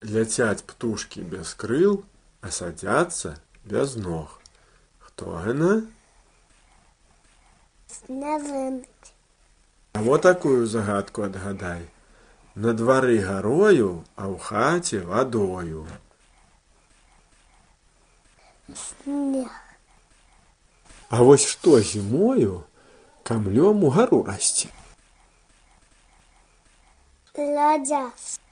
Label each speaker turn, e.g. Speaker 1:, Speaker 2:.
Speaker 1: Летять птушки без крил, а садятся без ног. Хто гине?
Speaker 2: Снежинки.
Speaker 1: А вот такую загадку отгадай. На двори горою, а в хаті водою.
Speaker 2: Снег.
Speaker 1: А ось что зимою камнем у гору расти.
Speaker 2: Ледяс.